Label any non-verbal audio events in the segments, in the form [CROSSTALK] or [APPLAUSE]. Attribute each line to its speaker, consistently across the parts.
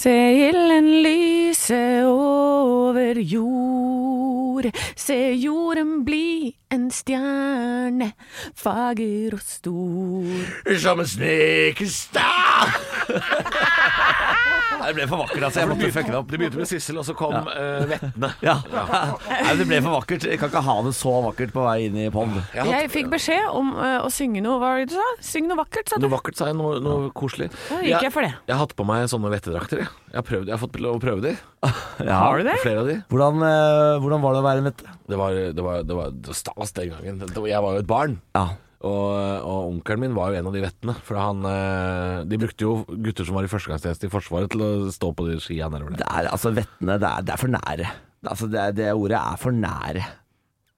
Speaker 1: Se ilden lyse over jord. Se jorden bli en stjerne, fager og stor.
Speaker 2: Som en snekestad! Det ble for vakkert, altså. Jeg måtte fucke det opp.
Speaker 3: Det begynte med Sissel, og så kom eh, Vettene.
Speaker 2: [LAUGHS] Ja. Nei, det ble for vakkert. Jeg kan ikke ha det så vakkert på vei inn i pond.
Speaker 3: Jeg har hatt-
Speaker 1: Jeg fikk beskjed om eh, å synge noe Hva var det du sa? Syng noe vakkert, sa du.
Speaker 3: Noe vakkert, sa jeg. Noe, noe koselig.
Speaker 1: Da gikk jeg for det.
Speaker 3: Jeg har hatt på meg sånne vettedrakter. Jeg, jeg, har, prøvd, jeg har fått lov å prøve de.
Speaker 1: Har du det?
Speaker 3: Flere av de.
Speaker 2: Hvordan, eh, hvordan var det å være med
Speaker 3: Det var, det var, det var, det var stas den gangen. Det var- Jeg var jo et barn.
Speaker 2: Ja.
Speaker 3: Og, og onkelen min var jo en av de vettene. For han, eh, de brukte jo gutter som var i førstegangstjeneste i Forsvaret til å stå på de skia nedover der.
Speaker 2: Det er altså vettene. Det er, det er for nære. Altså, det, er- det ordet er for nære.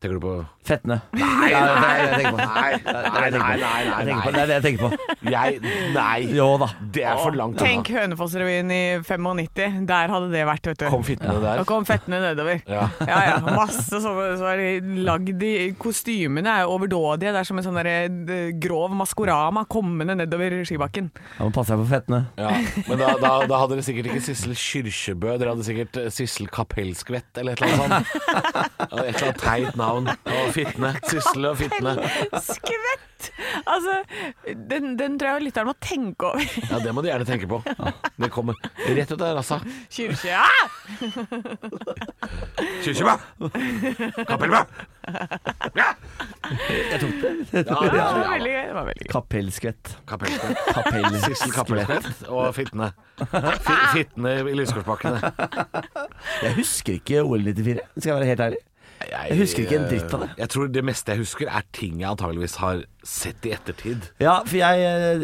Speaker 3: Tenker du på
Speaker 2: Fettene. Nei, det er det jeg tenker på.
Speaker 3: Nei, nei,
Speaker 2: Jeg
Speaker 3: nei.
Speaker 2: tenker på- Det er det jeg tenker på.
Speaker 3: Jeg, nei.
Speaker 2: Jo da.
Speaker 3: Det er for langt
Speaker 4: Tenk Hønefoss-revyen i 95. Der hadde det vært, vet du.
Speaker 3: Konfittene der.
Speaker 4: Da kom fettene nedover.
Speaker 3: Ja.
Speaker 4: ja, ja. Masse sånne så er de lagd i Kostymene er jo overdådige. Det er som en sånn derre, eh, grov maskorama kommende nedover skibakken.
Speaker 2: Da må passe deg på fettene.
Speaker 3: Ja, men da, da, da hadde dere sikkert ikke Sissel Kyrkjebø, dere hadde sikkert eh, Sissel Kapellskvett eller et eller annet
Speaker 1: [LAUGHS]
Speaker 3: sånt. Og Et eller annet teit navn. Og Fitne. Sissel og Fitne.
Speaker 4: [LAUGHS] Skvett! Altså, den, den tror jeg lytteren må tenke over. [LAUGHS]
Speaker 3: Ja, det må du gjerne tenke på. Det kommer rett ut av rassa.
Speaker 4: Kyrkje. Ah!
Speaker 3: Kyrkjebø! Kapellbø! Jeg tok det.
Speaker 4: Det
Speaker 3: Ja,
Speaker 4: var
Speaker 3: ja, ja.
Speaker 4: veldig gøy. Det var veldig gøy.
Speaker 2: Kapellskvett.
Speaker 3: Kapellskvett. Sissel
Speaker 2: Kapellskvett.
Speaker 3: Kapellskvett og Fitne. Fi- Fitne i lyskorsbakkene.
Speaker 2: Jeg husker ikke OL 94, skal jeg være helt ærlig. Jeg husker ikke en dritt av det.
Speaker 3: Jeg tror det meste jeg husker, er ting jeg antageligvis har sett i ettertid.
Speaker 2: Ja, for jeg,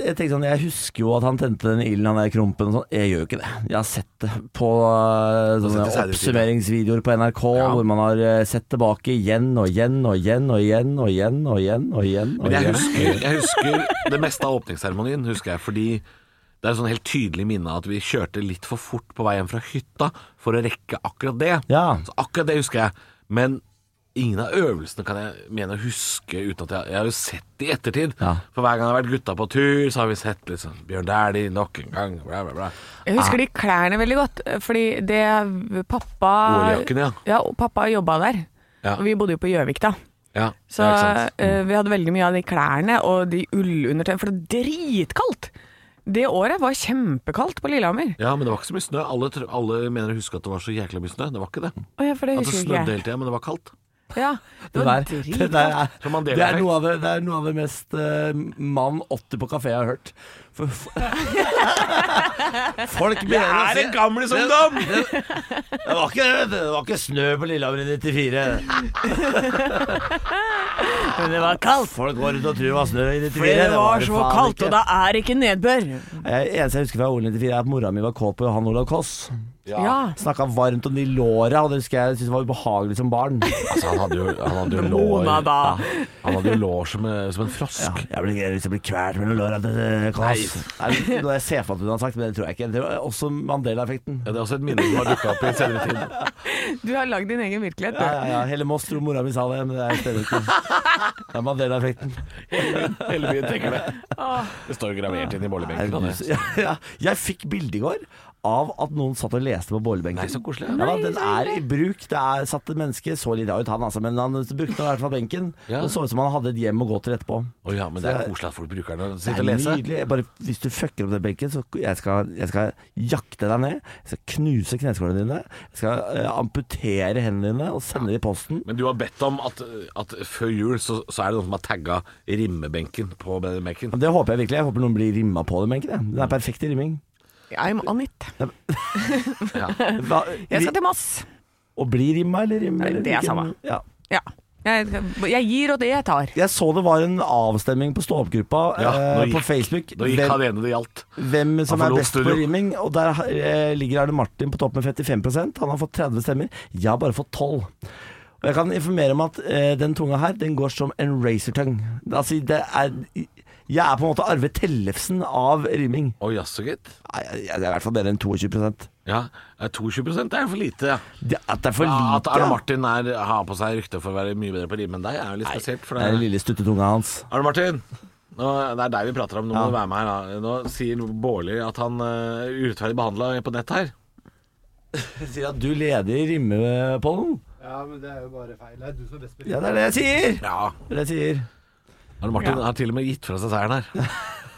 Speaker 2: jeg tenkte sånn Jeg husker jo at han tente den ilden, han der krompen og sånn. Jeg gjør jo ikke det. Jeg har sett det på eh, sånne
Speaker 3: sett det senere i tiden.
Speaker 2: oppsummeringsvideoer på NRK
Speaker 3: Ja.
Speaker 2: hvor man har eh, sett tilbake igjen og igjen og igjen og igjen og igjen og igjen. og igjen, og
Speaker 3: Men jeg
Speaker 2: igjen.
Speaker 3: husker, jeg husker det meste av åpningsseremonien, husker jeg, fordi det er et sånn helt tydelig minne av at vi kjørte litt for fort på vei hjem fra hytta for å rekke akkurat det.
Speaker 2: Ja.
Speaker 3: Så akkurat det husker jeg. Men ingen av øvelsene kan jeg mene å huske uten at jeg Jeg har jo sett det i ettertid.
Speaker 2: Ja.
Speaker 3: For hver gang jeg har vært gutta på tur, så har vi sett liksom Bjørn Dæhlie nok en gang, bla, bla, bla.
Speaker 4: Jeg husker de klærne veldig godt, fordi det pappa
Speaker 3: Oljakken, ja.
Speaker 4: Ja, og pappa jobba der.
Speaker 3: Ja.
Speaker 4: Og vi bodde jo på Gjøvik, da.
Speaker 3: Ja,
Speaker 4: Så
Speaker 3: ja, ikke sant?
Speaker 4: eh, vi hadde veldig mye av de klærne og de ullundertøyene, for det var dritkaldt! Det året var kjempekaldt på Lillehammer.
Speaker 3: Ja, men det var ikke så mye snø. Alle, tr- alle mener å huske at det var så jækla mye snø. Det var ikke det.
Speaker 4: Å ja, for det
Speaker 3: At det
Speaker 4: husker
Speaker 3: snødde
Speaker 4: jeg ikke.
Speaker 3: hele tida, men det var kaldt.
Speaker 4: Ja, det
Speaker 2: Det
Speaker 4: var
Speaker 2: der, det der
Speaker 4: dritkaldt.
Speaker 2: er,
Speaker 3: Som Mandela
Speaker 2: det, er
Speaker 3: fikk.
Speaker 2: noe av det, det er noe av det mest eh, mann 80 på kafé jeg har hørt. For, [LAUGHS] for, folk begynner å si
Speaker 3: gamle som dam!
Speaker 2: det var, ikke, det var ikke snø på Lillehammer i 94.
Speaker 4: [LAUGHS]
Speaker 2: Men det var kaldt. Folk går rundt og tror det var snø i 94.
Speaker 4: For det var så
Speaker 2: faen
Speaker 4: kaldt,
Speaker 2: ikke.
Speaker 4: og da er ikke nedbør.
Speaker 2: Jeg, eneste jeg husker fra OL 94 er at mora mi var kåt på Johan Olav Koss.
Speaker 4: Ja.
Speaker 2: Snakka varmt om de låra, og det husker jeg syntes var ubehagelig som barn.
Speaker 3: Altså, han hadde jo, han hadde jo lår
Speaker 4: Mona, da.
Speaker 3: Han hadde jo lår som, eh, som en
Speaker 2: Ja,
Speaker 3: frosk.
Speaker 2: jeg blir jeg har lyst til å bli kvalt mellom låra til eh, Koss. Nei, det er noe jeg ser for meg at hun har sagt, men det tror jeg ikke. Det var også Mandela-effekten.
Speaker 3: Ja, det er også et minne som har dukka opp i senere tid.
Speaker 4: Du har lagd din egen virkelighet,
Speaker 2: Ja,
Speaker 4: du.
Speaker 2: ja, ja. Hele Moss tror mora mi sa det, men det er stemmer ikke. Det er Mandela-effekten.
Speaker 3: Hele byen tenker det. Det står jo gravert inn i
Speaker 2: Er
Speaker 3: bollebenken.
Speaker 2: du
Speaker 3: det.
Speaker 2: så- Ja, ja. Jeg fikk bilde i går av at noen satt og leste på bålebenken.
Speaker 3: Nei, så koselig.
Speaker 2: Ja, da, den er i bruk. Det er satt et menneske Så lite ut han, altså, men han brukte i hvert fall benken.
Speaker 3: Ja.
Speaker 2: Det så ut som han hadde et hjem å gå til etterpå.
Speaker 3: Å ja, men det er koselig at folk bruker den og
Speaker 2: Det er
Speaker 3: sitter og leser.
Speaker 2: nydelig. Jeg Bare, hvis du fucker opp den benken, så jeg skal jeg skal jakte deg ned. Jeg skal knuse kneskålene dine. Jeg skal eh, amputere hendene dine og sende det i posten.
Speaker 3: Men du har bedt om at, at før jul så, så er det noen som har tagga rimmebenken på benken.
Speaker 2: Det håper jeg virkelig. Jeg håper noen blir rimma på den benken. jeg. Den er perfekt i rimming.
Speaker 4: I'm on it.
Speaker 2: Hva,
Speaker 4: Eh, Jeg skal til Moss.
Speaker 2: Å bli rimma eller rimme?
Speaker 4: Nei,
Speaker 2: eller
Speaker 4: det er
Speaker 2: hvilken-
Speaker 4: samme.
Speaker 2: Ja.
Speaker 4: Ja. Jeg, jeg gir og det jeg tar.
Speaker 2: Jeg så det var en avstemning på stå-opp-gruppa
Speaker 3: Ja, nå
Speaker 2: eh,
Speaker 3: gikk-
Speaker 2: på Facebook.
Speaker 3: Da gikk han
Speaker 2: hvem,
Speaker 3: ene det gjaldt.
Speaker 2: hvem som
Speaker 3: Han
Speaker 2: er
Speaker 3: forlot
Speaker 2: best på
Speaker 3: studio.
Speaker 2: rimming. Og der eh, ligger Arne Martin på topp med 55 Han har fått 30 stemmer. Jeg har bare fått 12. Og jeg kan informere om at eh, den tunga her, den går som en razortung. Altså, det er Jeg er på en måte Arve Tellefsen av rimming.
Speaker 3: Å jaså, gitt.
Speaker 2: Nei, jeg, jeg er i hvert fall bedre enn 22 Det,
Speaker 3: Ja, eh, 22 det er for lite. Ja.
Speaker 2: At det er for lite.
Speaker 3: Ja, At Arne Martin er, har på seg rykte for å være mye bedre på rim enn deg, er jo litt spesielt. For
Speaker 2: Det er den
Speaker 3: det,
Speaker 2: lille stuttetunga hans.
Speaker 3: Arne Martin, Nå, det er deg vi prater om, nå må du være med her. Da. Nå sier Bårli at han eh, er urettferdig behandla på nett her.
Speaker 2: Sier at du leder Rimmepollen.
Speaker 5: Ja, men det er jo bare feil. Det er du som er best
Speaker 2: Ja, det er det jeg sier!
Speaker 3: Ja.
Speaker 2: Det er det jeg sier.
Speaker 3: Martin har til og med gitt fra seg seieren her.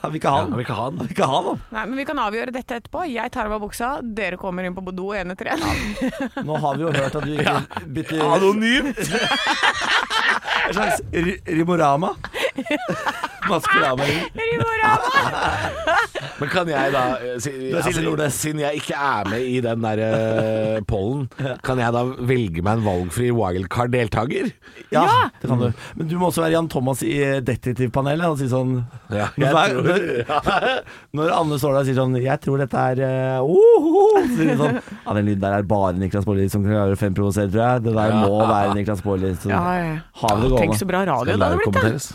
Speaker 2: Han vil ikke ha
Speaker 3: Han
Speaker 2: den.
Speaker 3: vil ikke ha den.
Speaker 2: Han vil ikke ha den.
Speaker 4: Nei, men Vi kan avgjøre dette etterpå. Jeg tar av meg buksa, dere kommer inn på do én etter én.
Speaker 2: Nå har vi jo hørt at du ikke bytter
Speaker 3: Anonymt!
Speaker 2: [LAUGHS] En slags ri- rimorama. Maskorama.
Speaker 4: [LAUGHS] Rivorama!
Speaker 3: Men kan jeg da eh, si,
Speaker 2: er Silje Nordnes.
Speaker 3: Siden jeg ikke er med i den der eh, pollen, [LAUGHS] kan jeg da velge meg en valgfri wildcard-deltaker?
Speaker 2: Ja, det kan du. Men du må også være Jan Thomas i eh, Detektivpanelet og si sånn
Speaker 3: Ja,
Speaker 2: når,
Speaker 3: jeg tror-
Speaker 2: når, når Anne står der og sier sånn 'Jeg tror dette er eh, oh, oh, oh», så sier hun sånn, ja, Den lyden der er bare Niklas Baarli som kan klare å fremprovosere, tror jeg. Det der må være Niklas Baarli. Så
Speaker 4: Ja, ja.
Speaker 2: har vi det
Speaker 4: Tenk så
Speaker 2: gående.
Speaker 4: bra radio det hadde blitt. da.
Speaker 3: Live-kommenteres.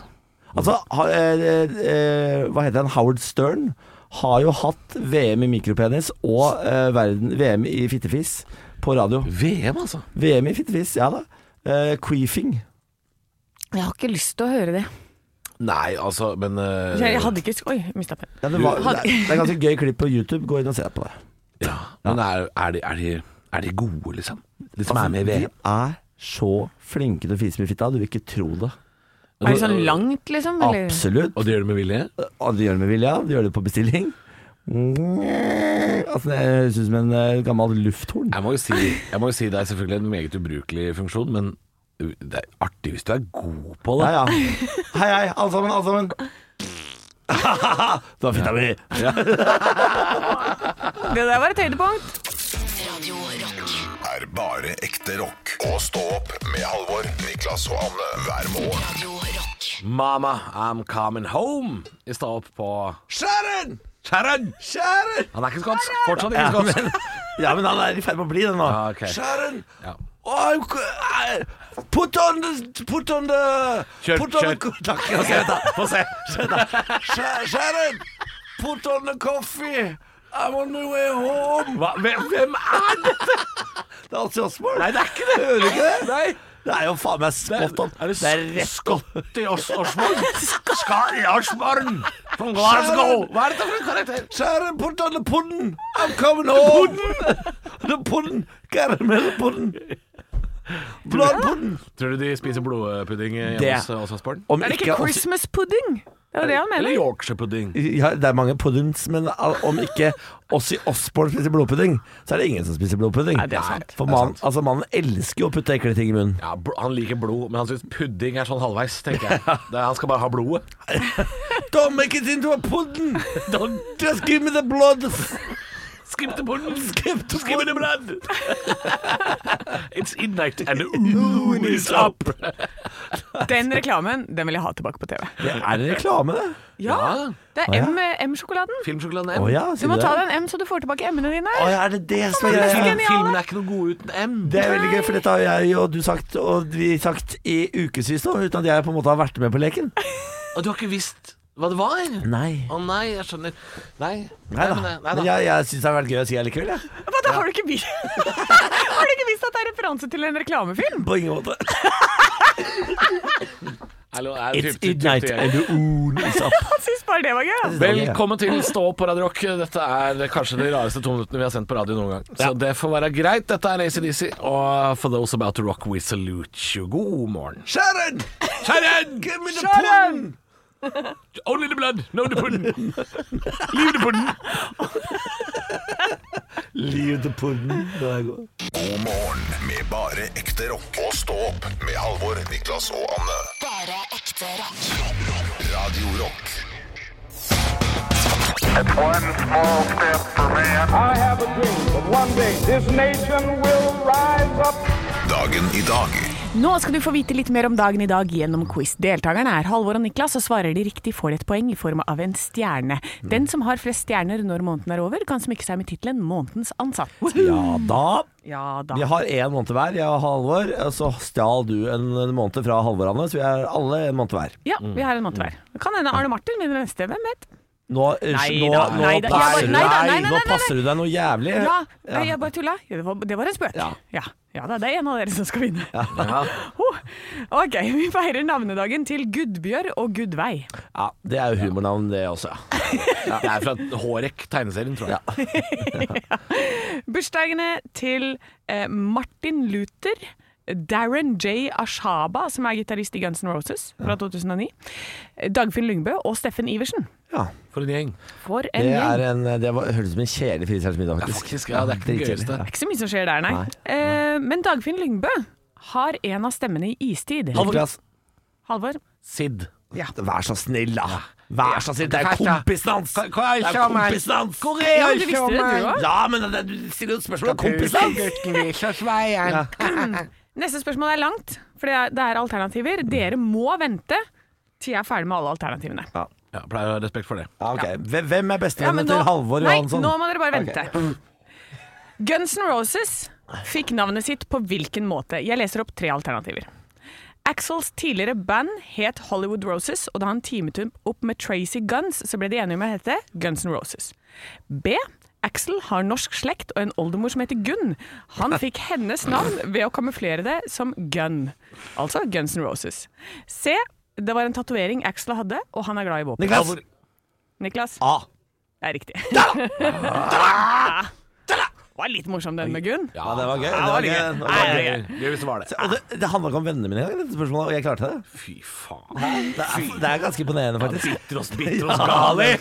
Speaker 2: Altså, ha, eh, eh, hva heter han? Howard Stern har jo hatt VM i mikropenis og eh, verden, VM i fittefis på radio.
Speaker 3: VM, altså.
Speaker 2: VM i fittefis, ja da. Eh, queefing.
Speaker 4: Jeg har ikke lyst til å høre det.
Speaker 3: Nei, altså, men eh,
Speaker 4: Jeg hadde ikke Oi, mista pennen.
Speaker 2: Ja, det, var, det, er, det er ganske gøy klipp på YouTube. Gå inn og se på det.
Speaker 3: ja, Men er, er, de, er, de, er de gode, liksom? De som er med i
Speaker 2: Altså, de
Speaker 3: VM?
Speaker 2: er så flinke til å fise med fitta, du vil ikke tro det.
Speaker 4: Er det sånn langt, liksom? Eller?
Speaker 2: Absolutt.
Speaker 3: Og det gjør de med vilje?
Speaker 2: Og de gjør det med vilje, de gjør det på bestilling. Altså, det høres ut som en eh, gammel lufthorn.
Speaker 3: Jeg må, jo si, jeg må jo si det er selvfølgelig en meget ubrukelig funksjon, men det er artig hvis du er god på det.
Speaker 2: Ja, ja. Hei, hei, alle sammen, alle
Speaker 4: [LAUGHS]
Speaker 2: sammen. det var fitta mi.
Speaker 4: Det der var et høydepunkt.
Speaker 6: er bare ekte rock. Og stå opp med Halvor, Niklas og Anne hver morgen.
Speaker 3: Mama, I'm coming home i stad opp på Sharon! Sharon! Han er ikke skotsk. Fortsatt ikke
Speaker 2: Ja,
Speaker 3: skotsk.
Speaker 2: men, ja, men han er i ferd med å bli det nå.
Speaker 3: Ja, Ah, ok.
Speaker 2: Sharon!
Speaker 3: Ja.
Speaker 2: I'm c- I- eh, Put on the Put on the
Speaker 3: Kjør,
Speaker 2: put on
Speaker 3: kjør.
Speaker 2: the- Takk, få se, da. Få se. Sha- Sharon! Put on the coffee! I'm on my way home!
Speaker 3: Hva, hvem, hvem er det?
Speaker 2: Det er alltid Osborne.
Speaker 3: Nei, det er ikke det.
Speaker 2: Hører du ikke det?
Speaker 3: Nei.
Speaker 2: Det er jo faen meg spot on.
Speaker 3: Er det
Speaker 2: Det er rett
Speaker 3: skott i
Speaker 2: [LAUGHS]
Speaker 3: Os Osborne? Skott i Osborne from Glasgow. Hva er dette for en karakter?
Speaker 2: Sharon, put on the pudding! I'm coming home! The pudding! Caramel pudding!
Speaker 3: [LAUGHS]
Speaker 2: Blood pudding!
Speaker 3: Tror du de spiser blodpudding
Speaker 2: Det-
Speaker 3: hjemme hos hos Osborne?
Speaker 2: Om
Speaker 4: Er det ikke
Speaker 2: også-
Speaker 4: Christmas pudding? Det er jo det han
Speaker 3: Eller
Speaker 4: mener.
Speaker 3: Yorkshire-pudding?
Speaker 2: Ja, det er mange puddings, men al- om ikke oss i Osborne spiser blodpudding, så er det ingen som spiser blodpudding.
Speaker 4: Nei, det er sant.
Speaker 2: For mannen altså, man elsker jo å putte ekle ting i munnen.
Speaker 3: Ja, bl- Han liker blod, men han syns pudding er sånn halvveis,
Speaker 2: [LAUGHS]
Speaker 3: tenker jeg. Det, er- han skal bare ha blodet.
Speaker 2: Don't make it into a pudding! Don't just give me the blood!
Speaker 3: Skip the pudding!
Speaker 2: Skip the
Speaker 3: Give me the blood! It's midnight
Speaker 2: [LAUGHS]
Speaker 3: and the moon is up!
Speaker 4: Den reklamen den vil jeg ha tilbake på TV.
Speaker 2: Det er en reklame, det.
Speaker 4: Ja,
Speaker 3: Ja.
Speaker 4: Det er M- eh, M-sjokoladen.
Speaker 3: Filmsjokoladen
Speaker 2: Å
Speaker 3: M.
Speaker 2: ja,
Speaker 4: Du
Speaker 2: sier
Speaker 4: må
Speaker 2: du det?
Speaker 4: ta deg en M, så du får tilbake M-ene dine.
Speaker 2: Å ja, er det det som er
Speaker 3: Film,
Speaker 2: greia?
Speaker 4: genial,
Speaker 3: filmen er ikke noe god uten M.
Speaker 2: Det er veldig gøy, for dette har jeg og du sagt, og vi sagt i ukevis nå, uten at jeg på en måte har vært med på leken.
Speaker 3: Og du har ikke visst hva det var?
Speaker 2: Nei.
Speaker 3: Å nei, jeg skjønner. Nei.
Speaker 2: Nei da.
Speaker 3: men det- nei
Speaker 2: Men jeg, jeg syns det har vært gøy å si allikevel, jeg.
Speaker 4: Hva da, har du ikke vist [LAUGHS] Har du ikke visst at det er referanse til en reklamefilm?
Speaker 2: På ingen måte.
Speaker 3: Hallo, er det
Speaker 2: It's
Speaker 3: typ- typ- typ-
Speaker 2: midnight
Speaker 3: typ-
Speaker 2: and the moon is up. [LAUGHS]
Speaker 4: Han syns bare det var gøy.
Speaker 3: Velkommen til Stå opp på Radio Rock. Dette er kanskje de rareste to minuttene vi har sendt på radio noen gang. Så det får være greit. Dette er ACDC, og for those about to rock, we salute you. God morgen.
Speaker 2: Sharon!
Speaker 3: Sharon!
Speaker 2: Give me the
Speaker 4: Sharon!
Speaker 2: pudding!
Speaker 3: Only the blood, no the pudding. [LAUGHS] Leave the pudding.
Speaker 2: [LAUGHS] Leave the pudding. Det er godt.
Speaker 6: God morgen med bare ekte rock. Og stå opp med Halvor, Niklas og Anne.
Speaker 7: Bare ekte rock.
Speaker 6: Radio Rock
Speaker 8: One small step for man. I have a dream that one day this nation will rise up.
Speaker 6: Dagen i dag
Speaker 4: Nå skal du få vite litt mer om dagen i dag gjennom quiz. Deltakerne er Halvor og Niklas, og svarer de riktig får de et poeng i form av en stjerne. Den som har flest stjerner når måneden er over, kan smykke seg med tittelen 'Månedens ansatt'.
Speaker 2: Ja da.
Speaker 4: Ja da.
Speaker 2: Vi har én måned hver, jeg og Halvor. og Så stjal du en en måned fra Halvor, Anne, så vi er alle en måned hver.
Speaker 4: Ja, vi har en måned hver. Det kan hende Arne Martin vinner neste, hvem vet?
Speaker 2: Nå, eh,
Speaker 4: Nei
Speaker 2: nå,
Speaker 4: da,
Speaker 2: nå
Speaker 4: nei da, jeg bare-
Speaker 2: passer du
Speaker 4: nei da, nei, nei,
Speaker 2: deg
Speaker 4: nei,
Speaker 2: Nå
Speaker 4: nei,
Speaker 2: passer du deg noe jævlig.
Speaker 4: Ja, nei, jeg bare tulla. Ja, det, var, det var en spøk.
Speaker 2: Ja.
Speaker 4: Ja. Ja, da, det er en av dere som skal [LAUGHS] vinne. Oh, ok, vi feirer navnedagen til Gudbjørg og Gudvei.
Speaker 2: Ja, det er jo humornavn, det også. Ja.
Speaker 3: Det er fra Hårek, tegneserien, tror jeg.
Speaker 4: Bursdagene til eh, Martin Luther. Darren J. Ashaba, som er gitarist i Guns N' Roses fra 2009. Dagfinn Lyngbø og Steffen Iversen.
Speaker 2: Ja,
Speaker 3: For en gjeng.
Speaker 4: For en
Speaker 2: det,
Speaker 4: gjeng.
Speaker 2: er en, eh, det var, høres ut som en kjedelig fritidsmiddag, faktisk.
Speaker 3: Faktisk, ja, det er ikke den
Speaker 2: dritkjedelig.
Speaker 3: gøyeste.
Speaker 4: Det er ikke så mye som skjer der, nei.
Speaker 2: Nei.
Speaker 4: Eh, men Dagfinn Lyngbø har en av stemmene i Istid.
Speaker 2: Niklas,
Speaker 4: Halvor.
Speaker 3: Sid.
Speaker 2: vær så snill, da. Vær så snill, det er
Speaker 3: Kaffe.
Speaker 2: kompisen hans! Det er kompisen hans!
Speaker 4: Ja, men du visste det, du også.
Speaker 2: Ja, men det- du stiller jo et spørsmål om kompisen hans!
Speaker 4: Neste spørsmål er langt, for det er, det er alternativer.
Speaker 2: Mm.
Speaker 4: Dere må vente til jeg er ferdig med alle alternativene.
Speaker 3: Ja, pleier å ha respekt for det.
Speaker 2: Ja, ok. Hvem- Hvem er
Speaker 4: Ja, men
Speaker 2: bestevennen
Speaker 4: nå-
Speaker 2: til Halvor Johansson?
Speaker 4: Nei, nå må dere bare vente. [LAUGHS] Guns N' Roses fikk navnet sitt på hvilken måte? Jeg leser opp tre alternativer. Axels tidligere band het Hollywood Roses, og da han teamet opp med Tracy Guns, så ble de enige om å hete Guns N' Roses. B. Axel har norsk slekt og en oldemor som heter Gunn.
Speaker 2: [LAUGHS]
Speaker 4: Han fikk hennes navn ved å kamuflere det som Gun, altså Guns N' Roses. C. Det var en tatovering Axel hadde, og han er glad i våpen.
Speaker 2: Niklas!
Speaker 4: Niklas?
Speaker 2: A.
Speaker 4: Det er riktig. Da! Var litt morsom den med Gunn.
Speaker 2: Ja, det var gøy.
Speaker 4: det var gøy.
Speaker 2: det
Speaker 4: Nei,
Speaker 2: var
Speaker 4: det var
Speaker 2: gøy.
Speaker 4: gøy.
Speaker 3: Gøy hvis det var det.
Speaker 2: Og det, det handla ikke om vennene mine engang, dette spørsmålet, og jeg klarte det.
Speaker 3: Fy faen.
Speaker 2: Det er, det er ganske imponerende, faktisk.
Speaker 3: Bitter oss, bitter oss,
Speaker 2: Ja,
Speaker 3: gali.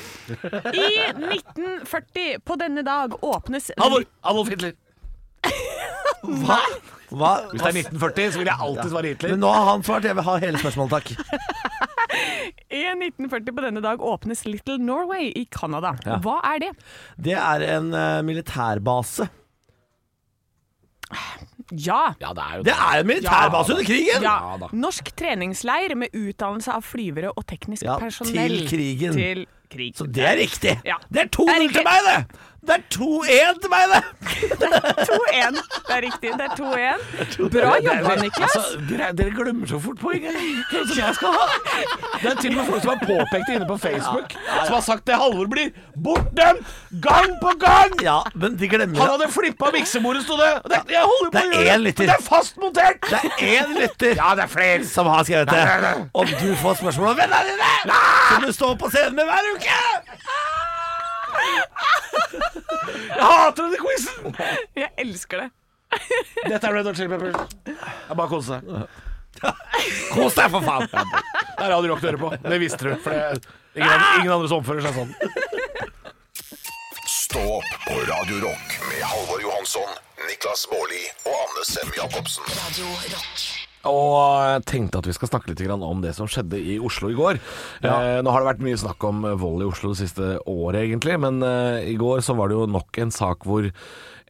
Speaker 4: I 1940 på denne dag åpnes
Speaker 3: Halvor! Adolf Hitler.
Speaker 2: Hva? Hva?
Speaker 3: Hvis det er 1940, så vil jeg alltid svare Hitler.
Speaker 2: Men nå har han svart. Jeg vil ha hele spørsmålet, takk.
Speaker 4: I 1940 på denne dag åpnes Little Norway i Canada. Hva er det?
Speaker 2: Det er en eh, militærbase.
Speaker 4: Ja.
Speaker 3: Ja, det er jo
Speaker 2: Det er en militærbase under krigen!
Speaker 4: ja.
Speaker 3: da.
Speaker 4: Norsk treningsleir med utdannelse av flyvere og teknisk
Speaker 2: Ja,
Speaker 4: personell.
Speaker 2: til krigen.
Speaker 4: Til krig.
Speaker 2: Så det er riktig.
Speaker 4: Ja.
Speaker 2: Det er 2-0
Speaker 4: Det er riktig.
Speaker 2: til meg, det! Det er 2-1 til meg, det!
Speaker 4: 2-1. Det er riktig. Det er 2-1. Bra jobba, Niklas.
Speaker 3: Altså, dere, dere glemmer så fort poenget som jeg skal ha. Det er til og med folk som har påpekt det inne på Facebook, som har sagt det Halvor blir. Bort dem! Gang på gang!
Speaker 2: Ja, men de
Speaker 3: Han
Speaker 2: glemmer det.
Speaker 3: hadde flippa miksebordet, sto det. Og det jeg holder på
Speaker 2: Det er
Speaker 3: å gjøre
Speaker 2: én lytter.
Speaker 3: men Det er fast montert!
Speaker 2: Det er én lytter
Speaker 3: Ja, det er flere.
Speaker 2: som har skrevet
Speaker 3: Nei,
Speaker 2: det.
Speaker 3: nei, nei.
Speaker 2: Og du får spørsmål om vennene dine! Som du står på scenen med hver uke!
Speaker 3: Jeg hater denne quizen!
Speaker 4: Jeg elsker det.
Speaker 3: Dette er Red Hot Chili Peppers. Jeg bare koser seg.
Speaker 2: Kos deg, for faen!
Speaker 3: Det er Radio Rock du hører på. Det visste du. For det er ingen, andre- ingen andre som oppfører seg sånn.
Speaker 6: Stå opp på Radio Rock med Halvor Johansson, Niklas Baarli og Anne Sem Jacobsen.
Speaker 7: Radio Rock.
Speaker 3: Og jeg tenkte at vi skal snakke litt grann om det som skjedde i Oslo i går. Eh, nå har det vært mye snakk om eh, vold i Oslo det siste året, egentlig. Men eh, i går så var det jo nok en sak hvor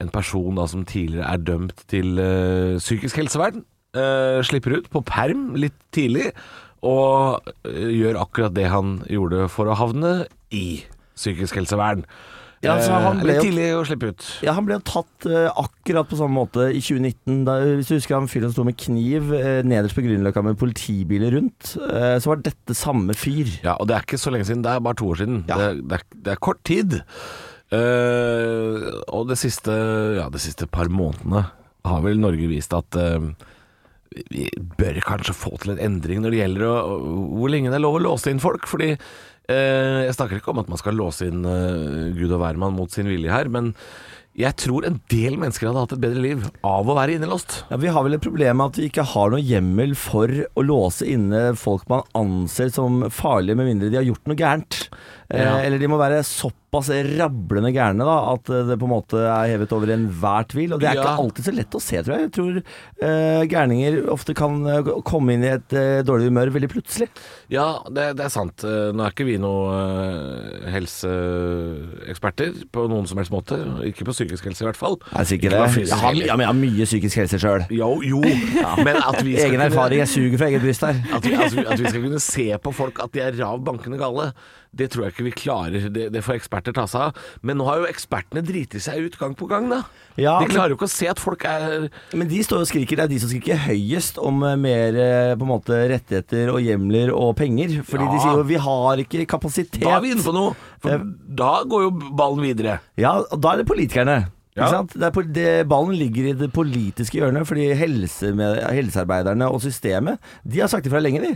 Speaker 3: en person da, som tidligere er dømt til eh, psykisk helsevern, eh, slipper ut på perm litt tidlig. Og eh, gjør akkurat det han gjorde for å havne i psykisk helsevern.
Speaker 2: Ja, så han
Speaker 3: Eh,
Speaker 2: ble
Speaker 3: litt
Speaker 2: jo-
Speaker 3: tidlig å slippe ut.
Speaker 2: Ja, Han ble jo tatt eh, akkurat på samme måte i 2019. Da, hvis du husker han fyren som sto med kniv eh, nederst på Grünerløkka med politibiler rundt, eh, så var dette samme fyr.
Speaker 3: Ja, og det er ikke så lenge siden. Det er bare to år siden.
Speaker 2: Ja.
Speaker 3: Det, er- det, er, det er kort tid. Eh, og det siste, ja, de siste par månedene har vel Norge vist at eh, vi- vi bør kanskje få til en endring når det gjelder å, hvor lenge det er lov å låse inn folk. Fordi eh, jeg snakker ikke om at man skal låse inn eh, gud og hvermann mot sin vilje her, men jeg tror en del mennesker hadde hatt et bedre liv av å være innelåst.
Speaker 2: Ja, Vi har vel et problem med at vi ikke har noe hjemmel for å låse inne folk man anser som farlige, med mindre de har gjort noe gærent. Eh,
Speaker 3: Ja.
Speaker 2: Eller de må være såpass rablende gærne da, at eh, det på en måte er hevet over enhver tvil. Og det er
Speaker 3: Ja.
Speaker 2: ikke alltid så lett å se, tror jeg. Jeg tror eh, gærninger ofte kan eh, komme inn i et eh, dårlig humør veldig plutselig.
Speaker 3: Ja, det, det er sant. Eh, Nå er ikke vi noen helseeksperter på noen som helst måte. Ikke på psykisk helse i hvert fall.
Speaker 2: Er sikker
Speaker 3: Ikke
Speaker 2: det?
Speaker 3: på fysisk
Speaker 2: Jeg har,
Speaker 3: heller.
Speaker 2: ja, men jeg har mye psykisk helse sjøl.
Speaker 3: Jo, jo. [LAUGHS] men at vi skal
Speaker 2: Egen
Speaker 3: kunne-
Speaker 2: erfaring. Jeg suger fra eget bryst her.
Speaker 3: At vi, altså, at vi skal kunne se på folk at de er rav bankende gale, det tror jeg ikke vi klarer. Det, det får ekspert- eksperter ta seg av. Men nå har jo ekspertene driti seg ut gang på gang, da.
Speaker 2: Ja,
Speaker 3: de
Speaker 2: men-
Speaker 3: klarer jo ikke å se at folk er
Speaker 2: Men de står og skriker, det er de som skriker høyest om eh, mer eh, på en måte rettigheter og hjemler og penger. Fordi
Speaker 3: Ja.
Speaker 2: de sier jo vi har ikke kapasitet.
Speaker 3: Da er vi inne på noe!
Speaker 2: Eh,
Speaker 3: For da går jo ballen videre.
Speaker 2: Ja, og da er det politikerne.
Speaker 3: Ja.
Speaker 2: Ikke sant? Det er, pol- det, ballen ligger i det politiske hjørnet, fordi helsemed, helsearbeiderne og systemet De har sagt ifra lenge, de.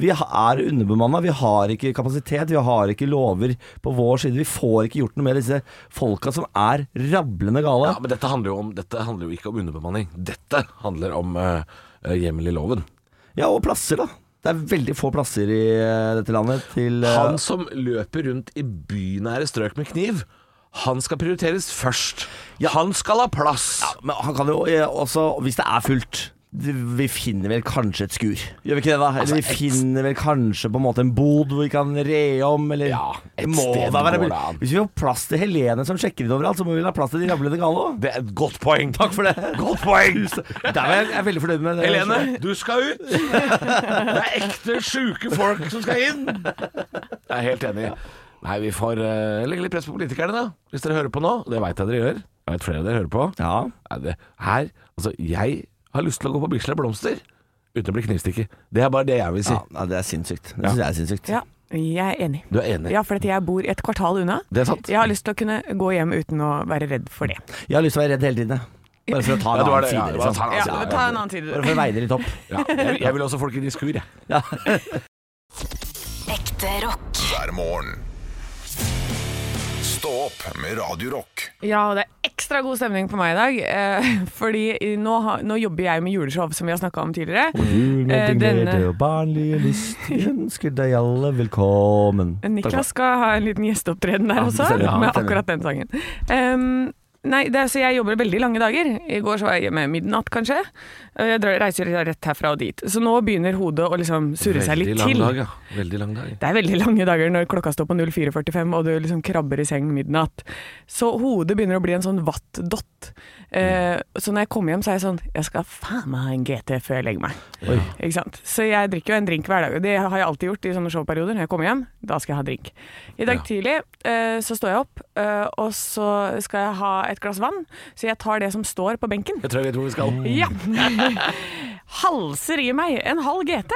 Speaker 2: Vi ha- er underbemanna, vi har ikke kapasitet, vi har ikke lover på vår side. Vi får ikke gjort noe med disse folka som er rablende gale.
Speaker 3: Ja, Men dette handler jo, om, dette handler jo ikke om underbemanning. Dette handler om eh, eh, hjemmel i loven.
Speaker 2: Ja, og plasser, da. Det er veldig få plasser i eh, dette landet til eh,
Speaker 3: Han som løper rundt i bynære strøk med kniv, han skal prioriteres først. Han skal ha plass.
Speaker 2: Men han kan jo eh, også, hvis det er fullt vi finner vel kanskje et skur. Gjør vi ikke det, da? Eller
Speaker 3: Altså,
Speaker 2: vi
Speaker 3: et-
Speaker 2: finner vel kanskje på en måte en bod hvor vi kan re om, eller
Speaker 3: Ja, et
Speaker 2: Må
Speaker 3: sted
Speaker 2: da være-
Speaker 3: går det an.
Speaker 2: Hvis vi får plass til Helene som sjekker inn overalt, så må vi vel ha plass til de rablende gale òg.
Speaker 3: Det er et godt poeng.
Speaker 2: Takk for det.
Speaker 3: Godt poeng!
Speaker 2: Der var jeg, jeg er veldig fornøyd med det.
Speaker 3: Helene, du skal ut! Det er ekte sjuke folk som skal inn! Jeg er helt enig. Nei, vi får eh, legge litt press på politikerne, da. Hvis dere hører på nå. Det veit jeg dere gjør. Jeg vet flere dere hører på.
Speaker 2: Ja.
Speaker 3: Nei, det, her Altså, jeg har lyst til å gå på Bislett Blomster uten å bli knivstukket. Det er bare det jeg vil si.
Speaker 2: ja. Nei, det er sinnssykt. Det syns jeg er sinnssykt.
Speaker 4: Ja, jeg er enig.
Speaker 3: Du er enig?
Speaker 4: Ja, fordi jeg bor et kvartal unna.
Speaker 3: Det er sant.
Speaker 4: Jeg har lyst til å kunne gå hjem uten å være redd for det.
Speaker 2: Jeg har lyst til å være redd hele tiden. jeg. Bare for å ta
Speaker 3: Ja,
Speaker 2: en
Speaker 3: det var
Speaker 2: annen
Speaker 3: det. Ja,
Speaker 2: side.
Speaker 3: det var
Speaker 2: liksom.
Speaker 3: ta en annen side.
Speaker 4: Ja, ta en annen side.
Speaker 2: Bare for å veie det litt opp. [LAUGHS]
Speaker 3: Ja, jeg, jeg vil også folk inn i skur, jeg.
Speaker 7: Ekte rock.
Speaker 6: hver morgen. Stå opp med Radio Rock.
Speaker 4: [LAUGHS] Ja, og det er ekstra god stemning på meg i dag. Eh, [LAUGHS] fordi nå, har- nå jobber jeg med juleshow, som vi har snakka om tidligere.
Speaker 2: Du
Speaker 4: Eh,
Speaker 2: med din
Speaker 4: denne-
Speaker 2: glede og barnlige lyst, vi ønsker deg alle velkommen.
Speaker 4: Niklas skal ha en liten gjesteopptreden der
Speaker 2: Ja,
Speaker 4: også,
Speaker 2: stemmer, ja,
Speaker 4: med
Speaker 2: stemmer.
Speaker 4: akkurat den sangen. Ehm, nei, det, er- så jeg jobber veldig lange dager. I går så var jeg hjemme midnatt, kanskje. Og Jeg drar- reiser rett herfra og dit. Så nå begynner hodet å liksom surre seg litt
Speaker 3: lang
Speaker 4: til.
Speaker 3: dag, ja. Veldig lang dag.
Speaker 4: Det er veldig lange dager når klokka står på 04.45 og du liksom krabber i seng midnatt. Så hodet begynner å bli en sånn vattdott. Eh, så når jeg kommer hjem, så er jeg sånn Jeg skal faen meg ha en GT før jeg legger meg. Ikke sant? Så jeg drikker jo en drink hver dag. og Det har jeg alltid gjort i sånne showperioder. Når jeg kommer hjem, da skal jeg ha drink. I dag tidlig eh, så står jeg opp, eh, og så skal jeg ha et glass vann. Så jeg tar det som står på benken.
Speaker 3: Jeg tror jeg vet hvor vi skal.
Speaker 4: Ja! [LAUGHS] Halser i meg en halv GT.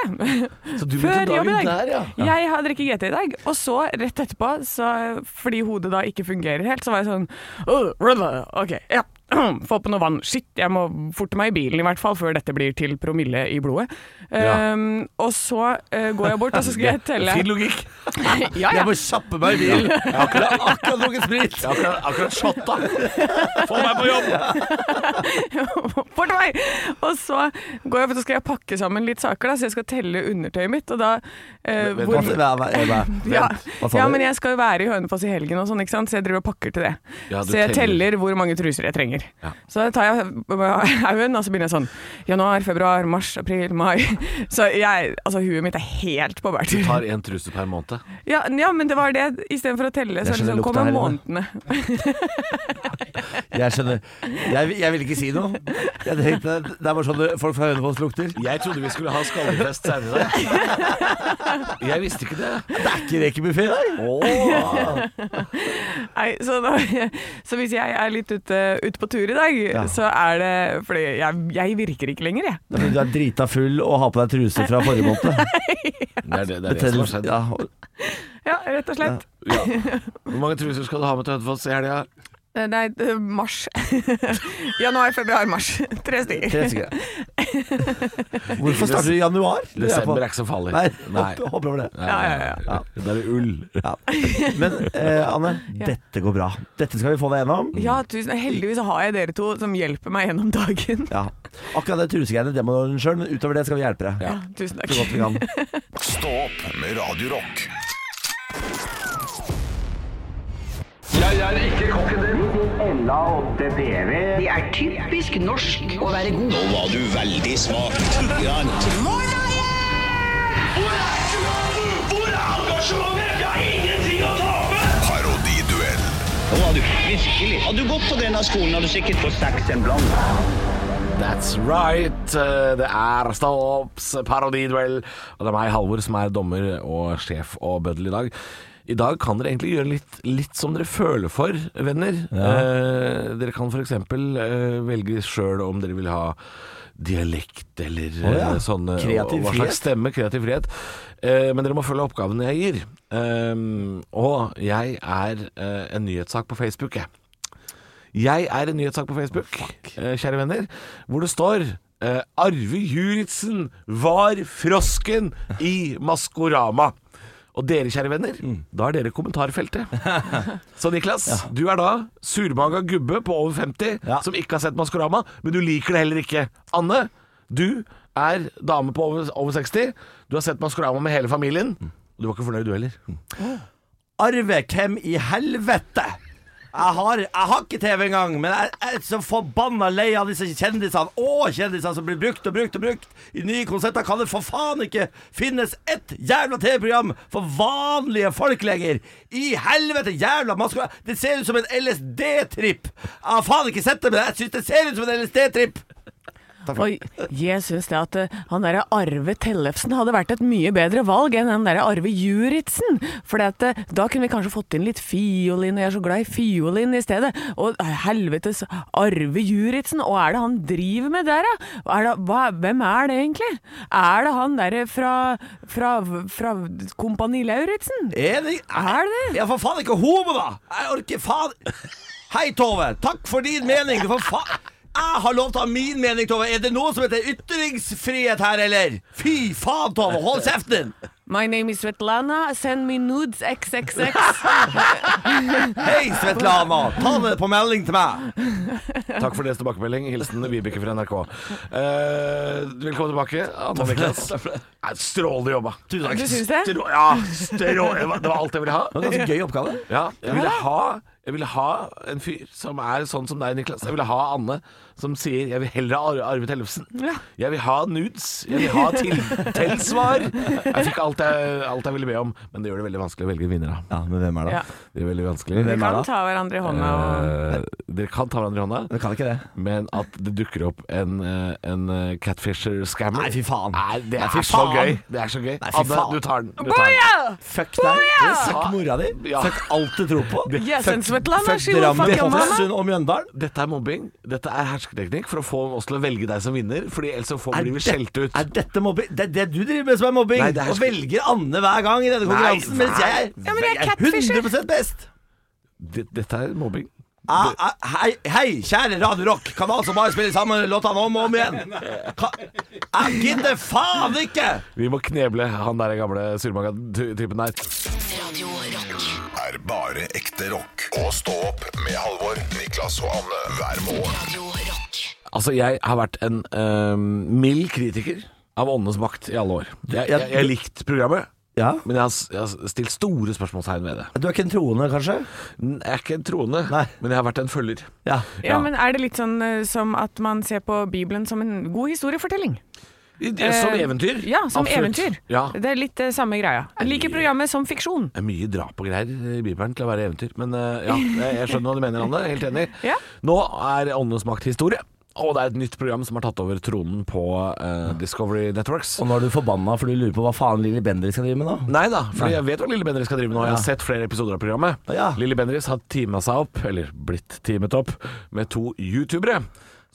Speaker 3: Så du begynte
Speaker 4: Før jobb
Speaker 3: dagen
Speaker 4: i dag.
Speaker 3: der, ja.
Speaker 4: Jeg har drukket GT i dag, og så rett etterpå, så, fordi hodet da ikke fungerer helt, så var jeg sånn «Åh, rødda, Ok, ja. [CLEARS THROAT] Få på noe vann. Shit, jeg må forte meg i bilen i hvert fall, før dette blir til promille i blodet.
Speaker 3: Ja.
Speaker 4: Ehm, og så eh, går jeg bort, og så skal
Speaker 3: [LAUGHS]
Speaker 4: jeg telle [LAUGHS]
Speaker 3: Fin logikk.
Speaker 4: ja, ja.
Speaker 2: må kjappe meg i
Speaker 4: [LAUGHS]
Speaker 2: bilen! Jeg har akkurat, akkurat drukket sprit!
Speaker 3: Jeg har akkurat, akkurat shotta. Få meg på jobb!
Speaker 4: Fort vei! Og så går jeg, for så skal jeg pakke sammen litt saker, da, så jeg skal telle undertøyet mitt, og da eh,
Speaker 3: Men- men
Speaker 4: hvor-
Speaker 2: Hva- hva- hva- hva-
Speaker 4: Ja.
Speaker 2: Hva sa
Speaker 4: ja,
Speaker 2: du?
Speaker 4: men jeg skal jo være i Hønefoss i helgen og sånn, ikke sant? så jeg driver og pakker til det.
Speaker 3: Ja, du
Speaker 4: så jeg
Speaker 3: teller.
Speaker 4: teller hvor mange truser jeg trenger.
Speaker 3: Ja.
Speaker 4: Så da tar jeg [LAUGHS] haugen, og så begynner jeg sånn januar, februar, mars, april, mai. [LAUGHS] Så jeg, altså huet mitt er helt på bærtur.
Speaker 3: Tar én truse per måned.
Speaker 4: Ja, ja, men det var det, istedenfor å telle, så
Speaker 2: Jeg
Speaker 4: liksom
Speaker 2: skjønner lukta
Speaker 4: kommer
Speaker 2: her inne.
Speaker 4: månedene.
Speaker 2: Jeg skjønner. Jeg, jeg ville ikke si noe. Jeg tenkte, Det er bare sånn folk fra Hønefoss lukter.
Speaker 3: Jeg trodde vi skulle ha skallefest senere. Jeg visste ikke det.
Speaker 2: Det er ikke rekebuffé i dag!
Speaker 4: Nei, så, da, [LAUGHS] så hvis jeg er litt ute, ute på tur i dag, så er det fordi jeg, jeg virker ikke lenger, jeg.
Speaker 2: Det er fordi du er drita full og har på deg truse fra forrige måned.
Speaker 3: Det er det, det, er det som har
Speaker 2: Betennelse-
Speaker 3: skjedd.
Speaker 2: Ja, og-
Speaker 4: Ja, rett og slett.
Speaker 3: Hvor mange truser skal du ha med til Hønefoss i helga?
Speaker 4: Eh, Nei, eh, mars. [LAUGHS] Januar, februar, mars. [LAUGHS] Tre stykker.
Speaker 2: tre stykker. Hvorfor starter du i januar? Lurer jeg på.
Speaker 3: Desember er ikke så farlig.
Speaker 2: Nei, [LAUGHS]
Speaker 3: Nei.
Speaker 2: hopp- hopp over det.
Speaker 3: Ja, ja, ja. Da er det ull.
Speaker 2: Ja. Men eh, Anne, dette går bra. Dette skal vi få deg gjennom.
Speaker 4: Ja, tusen Heldigvis har jeg dere to som hjelper meg gjennom dagen.
Speaker 2: Ja. Akkurat det trusegreiene, det må du ordne sjøl, men utover det skal vi hjelpe deg.
Speaker 3: Ja.
Speaker 4: Ja, tusen
Speaker 2: Så
Speaker 4: takk.
Speaker 2: godt vi kan.
Speaker 6: Stå opp med Radio Rock.
Speaker 9: Jeg er ikke kokken din. Ella 8BV. Det er typisk norsk å være god. Nå var du veldig smak.
Speaker 10: Hvor er engasjementet? Hvor er engasjementet? Jeg har ingenting å tape!
Speaker 6: Parodiduell
Speaker 9: Nå var du virkelig. Hadde du gått på denne skolen, hadde du sikkert fått seks en blant.
Speaker 3: That's right. Eh, Det er Stavops parodiduell. Og det er meg, Halvor, som er dommer og sjef og bøddel i dag. I dag kan dere egentlig gjøre litt, litt som dere føler for, venner. Eh, dere kan f.eks. Eh, velge sjøl om dere vil ha dialekt eller
Speaker 2: Å ja.
Speaker 3: eh, sånne
Speaker 2: Kreativ
Speaker 3: og Hva
Speaker 2: frihet.
Speaker 3: slags stemme, kreativ frihet. Eh, men dere må følge oppgavene jeg gir. Ehm, og jeg er eh, en nyhetssak på Facebook, jeg. Jeg er en nyhetssak på Facebook, eh, kjære venner, hvor det står eh, Arve Juritzen var frosken i Maskorama. Og dere, kjære venner, da er dere kommentarfeltet. Så Niklas, du er da surmaga gubbe på over 50
Speaker 2: Ja.
Speaker 3: som ikke har sett Maskorama, men du liker det heller ikke. Anne, du er dame på over, over 60. Du har sett Maskorama med hele familien. Du var ikke fornøyd, du heller.
Speaker 2: Arve, hvem i helvete? Jeg har, jeg har ikke TV engang, men jeg er så forbanna lei av disse kjendisene. Å, kjendisene som blir brukt og brukt og brukt. I nye konserter kan det for faen ikke finnes ett jævla TV-program for vanlige folk lenger. I helvete, jævla maskara. Det ser ut som en LSD-tripp. Jeg har faen ikke sett det, men jeg syns det ser ut som en LSD-tripp.
Speaker 4: Og jeg syns det at eh, han derre Arve Tellefsen hadde vært et mye bedre valg enn den derre Arve Juritzen. For eh, da kunne vi kanskje fått inn litt fiolin, og jeg er så glad i fiolin i stedet. Og eh, helvetes Arve Juritzen, og er det han driver med der, da? Er det, hva, hvem er det egentlig? Er det han derre fra, fra, fra Kompani Lauritzen?
Speaker 2: Er det
Speaker 4: Er det?
Speaker 2: Ja, for faen ikke homo, da! Jeg orker faen Hei, Tove. Takk for din mening. For faen Jeg har lov til å ha min mening, Tove. Er det noe som heter ytringsfrihet her, eller? Fy faen, Tove. Hold kjeften din.
Speaker 4: My name is Svetlana, send me nudes xxx.
Speaker 2: Hei, Svetlana. Ta det på melding til meg.
Speaker 3: Takk for deres tilbakemelding. Hilsen Vibeke fra NRK. Eh, velkommen tilbake, Anne og Niklas. Nei, Strålende jobba. Tusen
Speaker 4: Du syns det?
Speaker 3: Strå, ja, strå, det var alt jeg ville ha.
Speaker 2: Det var en gøy oppgave.
Speaker 3: Ja, jeg, ville ha jeg ville ha en fyr som er sånn som deg, Niklas. Jeg ville ha Anne som sier 'jeg vil heller ha Ar- Arve Tellefsen'. Jeg vil ha nudes. Jeg vil ha til tilsvar. Jeg fikk alt jeg, alt jeg ville be om, men det gjør det veldig vanskelig å velge vinner, da.
Speaker 2: Ja, men hvem er det?
Speaker 4: Ja.
Speaker 3: Det er veldig vanskelig.
Speaker 4: Vi kan ta hverandre i hånda og
Speaker 3: Eh, dere kan ta hverandre i hånda.
Speaker 2: kan ikke det.
Speaker 3: Men at det dukker opp en, eh, en eh, catfisher-scammer
Speaker 2: Nei, fy faen.
Speaker 3: Nei, det
Speaker 2: Nei,
Speaker 3: er
Speaker 2: fy
Speaker 3: så
Speaker 2: faen.
Speaker 3: gøy. Det er så gøy.
Speaker 2: Nei, fy
Speaker 3: Anne,
Speaker 2: faen.
Speaker 3: du tar den. Du tar den.
Speaker 2: Fuck deg. Fuck mora di.
Speaker 3: Ja.
Speaker 2: Fuck alt du tror på.
Speaker 4: Yes,
Speaker 2: Fuck-
Speaker 4: and Svetlana,
Speaker 2: fuck
Speaker 4: she will
Speaker 2: Drammen,
Speaker 4: fuck your mama.
Speaker 2: Ålesund og Mjøndalen.
Speaker 3: Dette er mobbing. Dette er hersketeknikk for å få oss til å velge deg som vinner, Fordi ellers så får-
Speaker 2: Er
Speaker 3: blir vi
Speaker 2: det-
Speaker 3: skjelt ut.
Speaker 2: Er dette mobbing? Det er det du driver med som er mobbing.
Speaker 3: Nei, det er-
Speaker 2: Og velger Anne hver gang i denne konkurransen,
Speaker 3: nei.
Speaker 2: mens jeg er,
Speaker 4: Ja, men jeg er
Speaker 2: jeg
Speaker 4: catfisher.
Speaker 2: er 100 best.
Speaker 3: Det- Dette er mobbing.
Speaker 2: Ah, ah, hei, hei, kjære Radio Rock, kanal som bare spiller sammen låtene om og om igjen. Ka jeg gidder faen ikke!
Speaker 3: Vi må kneble han der gamle surmaga-typen der.
Speaker 7: Radio Rock.
Speaker 6: er bare ekte rock. Og stå opp med Halvor, Niklas og Anne hver morgen.
Speaker 7: Radio Rock.
Speaker 3: Altså, jeg har vært en eh, mild kritiker av åndenes makt i alle år. Jeg, jeg, jeg har likt programmet,
Speaker 2: Ja,
Speaker 3: men jeg har, s- jeg har stilt store spørsmålstegn ved det.
Speaker 2: Du er ikke en troende, kanskje?
Speaker 3: Jeg er ikke en troende,
Speaker 2: Nei.
Speaker 3: men jeg har vært en følger.
Speaker 2: Ja.
Speaker 4: Ja, men er det litt sånn eh, som at man ser på Bibelen som en god historiefortelling?
Speaker 3: Ja, Som
Speaker 4: Eh,
Speaker 3: eventyr.
Speaker 4: Ja, som
Speaker 3: Absolutt.
Speaker 4: eventyr.
Speaker 3: Ja.
Speaker 4: Det er litt det samme greia. Jeg liker programmet som fiksjon.
Speaker 3: Det er mye drap og greier i Bibelen til å være eventyr, men eh, ja, jeg- jeg skjønner hva du mener, Anne. Helt enig.
Speaker 4: Ja.
Speaker 3: Nå er Åndenes makt historie. Og det er et nytt program som har tatt over tronen på eh, Discovery Networks.
Speaker 2: Og nå er du forbanna for du lurer på hva faen Lilly Bendriss skal drive med nå?
Speaker 3: Nei da, for jeg vet hva Lille Bendriss skal drive med nå. Jeg har sett flere episoder av programmet.
Speaker 2: Ja.
Speaker 3: Lille Bendriss har teama seg opp, eller blitt teamet opp, med to youtubere.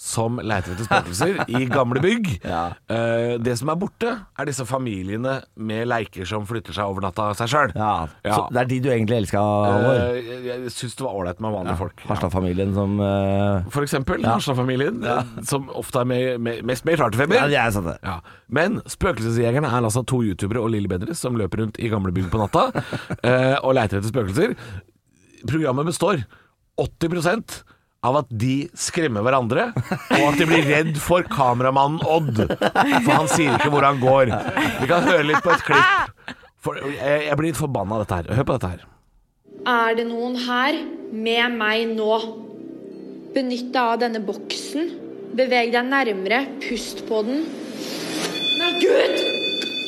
Speaker 3: Som leiter etter
Speaker 2: [LAUGHS]
Speaker 3: spøkelser i gamle bygg.
Speaker 2: Ja.
Speaker 3: Eh, det som er borte, er disse familiene med leiker som flytter seg over natta av seg sjøl.
Speaker 2: Ja. Så
Speaker 3: Ja.
Speaker 2: det er de du egentlig elsker, Halvor?
Speaker 3: Eh, jeg jeg syns det var ålreit med vanlige folk.
Speaker 2: Harstad-familien som eh,
Speaker 3: For eksempel Harstad-familien, eh, som ofte er med, med, mest med i charterfeber.
Speaker 2: Ja, jeg er sånn det.
Speaker 3: Ja. Men Spøkelsesjegerne er altså to youtubere og Lille Bendriss som løper rundt i gamle bygg på natta eh, og leiter etter spøkelser. Programmet består 80 av at de skremmer hverandre, og at de blir redd for kameramannen Odd. For han sier ikke hvor han går. Vi kan høre litt på et klipp. For, eh, jeg, jeg blir litt forbanna av dette her. Hør på dette her.
Speaker 11: Er det noen her med meg nå? Benytt deg av denne boksen. Beveg deg nærmere. Pust på den. Nei, gud!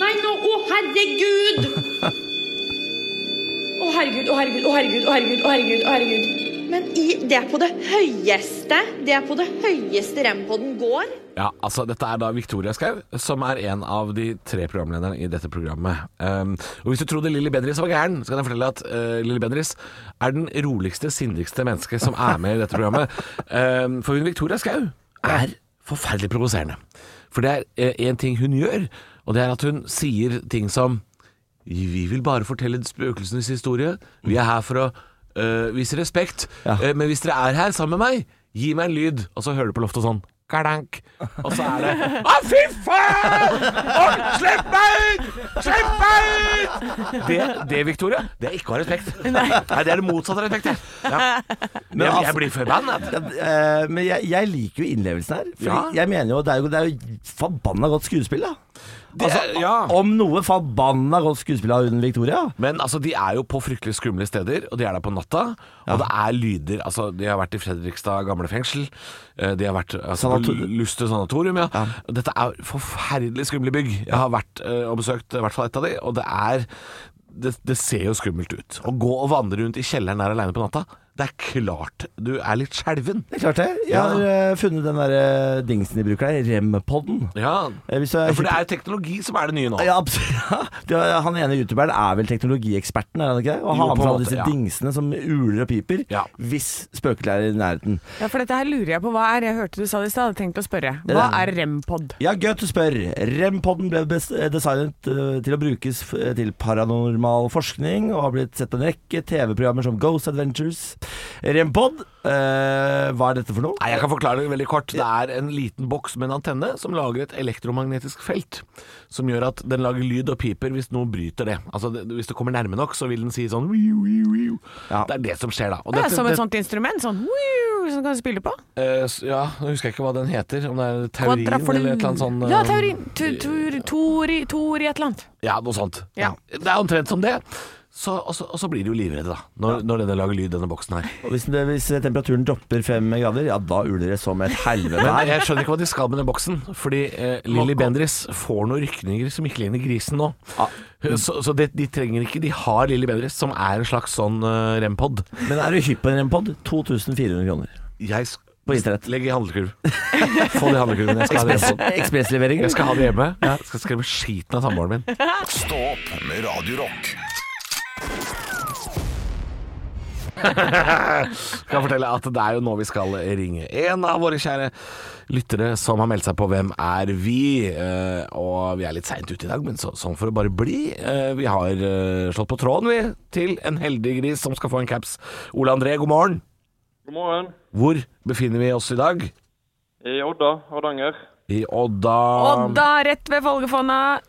Speaker 11: Nei, nå! Å, herregud! Å, herregud, å, herregud, å, herregud, å, herregud, å, herregud, å, herregud. Men i, det er på det høyeste. Det er på det høyeste rempodden går.
Speaker 3: Ja, altså Dette er da Victoria Skau, som er en av de tre programlederne i dette programmet. Um, og Hvis du trodde Lilly Bendriss var gæren, så kan jeg fortelle at uh, Lilly Bendriss er den roligste, sindigste mennesket som er med i dette programmet. Um, for hun Victoria Skau er forferdelig provoserende. For det er én ting hun gjør, og det er at hun sier ting som Vi vil bare fortelle spøkelsenes historie. Vi er her for å øh, vise respekt.
Speaker 2: Ja.
Speaker 3: Eh, men hvis dere er her sammen med meg, gi meg en lyd. Og så hører du på loftet sånn. Kardank. Og så er det Å, fy faen! Å, slipp meg ut! Slipp meg ut! Det, det, Victoria, det er ikke å ha respekt. Nei. det er det motsatte av respekt. jeg. Ja. Men jeg, jeg blir forbannet.
Speaker 2: Ja, eh, men jeg, jeg liker jo innlevelsen her. For
Speaker 3: Ja.
Speaker 2: jeg mener jo det, er jo det er jo forbanna godt skuespill, da. Altså,
Speaker 3: ja.
Speaker 2: Om noe forbanna godt skuespill av hun Victoria.
Speaker 3: Men altså, de er jo på fryktelig skumle steder, og de er der på natta. Og det er lyder Altså, de har vært i Fredrikstad gamle fengsel. eh, De har vært altså,
Speaker 2: Sanator-
Speaker 3: på Luster sanatorium, ja. Dette er forferdelig skumle bygg. Jeg har vært eh, og besøkt i hvert fall ett av de, og det er det, det ser jo skummelt ut. Å gå og vandre rundt i kjelleren der aleine på natta, det er klart du er litt skjelven.
Speaker 2: Det er klart det. Jeg
Speaker 3: Ja.
Speaker 2: har eh, funnet den der eh, dingsen de bruker der, Rem-podden.
Speaker 3: Ja.
Speaker 2: Eh, hvis du er-
Speaker 3: ja, for det er jo teknologi som er det nye nå.
Speaker 2: Ja, absolutt. [LAUGHS] Ja, det er- Han ene youtuberen er vel teknologieksperten, er han ikke det? Og
Speaker 3: Jo,
Speaker 2: har med
Speaker 3: på
Speaker 2: seg
Speaker 3: en
Speaker 2: alle
Speaker 3: måte,
Speaker 2: disse
Speaker 3: ja.
Speaker 2: dingsene som uler og piper
Speaker 3: Ja.
Speaker 2: hvis spøkelset er i nærheten.
Speaker 4: Ja, for dette her lurer jeg på. Hva er Jeg hørte du sa det i stad, hadde tenkt å spørre.
Speaker 2: er
Speaker 4: Hva
Speaker 2: det.
Speaker 4: er rempod?
Speaker 2: Ja, gøy at du spør. REM-podden ble bes- eh, designet eh, til å brukes f- eh, til paranormal forskning, og har blitt sett på en rekke TV-programmer som Ghost Adventures. REM-pod, eh, hva er dette for noe?
Speaker 3: Nei, Jeg kan forklare det veldig kort. Det er en liten boks med en antenne som lager et elektromagnetisk felt. Som gjør at den lager lyd og piper hvis noe bryter det. Altså det, Hvis det kommer nærme nok, så vil den si sånn wiu, wiu, wiu.
Speaker 2: Ja.
Speaker 3: Det er det som skjer da. Og
Speaker 4: Ja,
Speaker 3: dette-
Speaker 4: som et
Speaker 3: det-
Speaker 4: sånt instrument? Sånn wiu, som du kan spille på?
Speaker 3: eh, s- ja, nå husker jeg ikke hva den heter. Om det er teorien
Speaker 4: Kontrafol-
Speaker 3: eller et eller annet sånn eh,
Speaker 4: Ja, teorien. Tu- tur- Tori, tori, et eller annet.
Speaker 3: Ja, noe sånt.
Speaker 4: Ja.
Speaker 3: Det er omtrent som det. Så, og, så, og så blir de jo livredde, da. Når, når denne lager lyd, denne boksen her.
Speaker 2: Og hvis, det, hvis temperaturen dropper fem grader, ja da uler det som et helvete
Speaker 3: Men
Speaker 2: her.
Speaker 3: jeg skjønner ikke hva de skal med den boksen. Fordi eh, Lilly Bendriss får noen rykninger som ikke ligner grisen nå. Så, så det, de trenger ikke De har Lilly Bendriss, som er en slags sånn eh, rempod.
Speaker 2: Men er du hypp på en REM-pod? 2400 kroner.
Speaker 3: Jeg sk-
Speaker 2: På internett.
Speaker 3: Legg i handlekurv. Få det i handlekurven. Jeg skal ha det
Speaker 2: Ekspress-
Speaker 3: hjemme.
Speaker 2: Ekspressleveringer.
Speaker 3: Jeg skal ha det hjemme. Jeg skal skremme skiten av samboeren min.
Speaker 6: Stå opp med Radio Rock.
Speaker 3: Skal jeg fortelle at det er jo nå vi skal ringe en av våre kjære lyttere som har meldt seg på Hvem er vi? Eh, og vi er litt seint ute i dag, men så, sånn for å bare bli. Eh, vi har eh, slått på tråden, vi, til en heldig gris som skal få en caps. Ole André, god morgen.
Speaker 7: God morgen.
Speaker 3: Hvor befinner vi oss i dag?
Speaker 7: I Odda, Hardanger.
Speaker 3: I Odda.
Speaker 4: Odda, rett ved Folgefonna.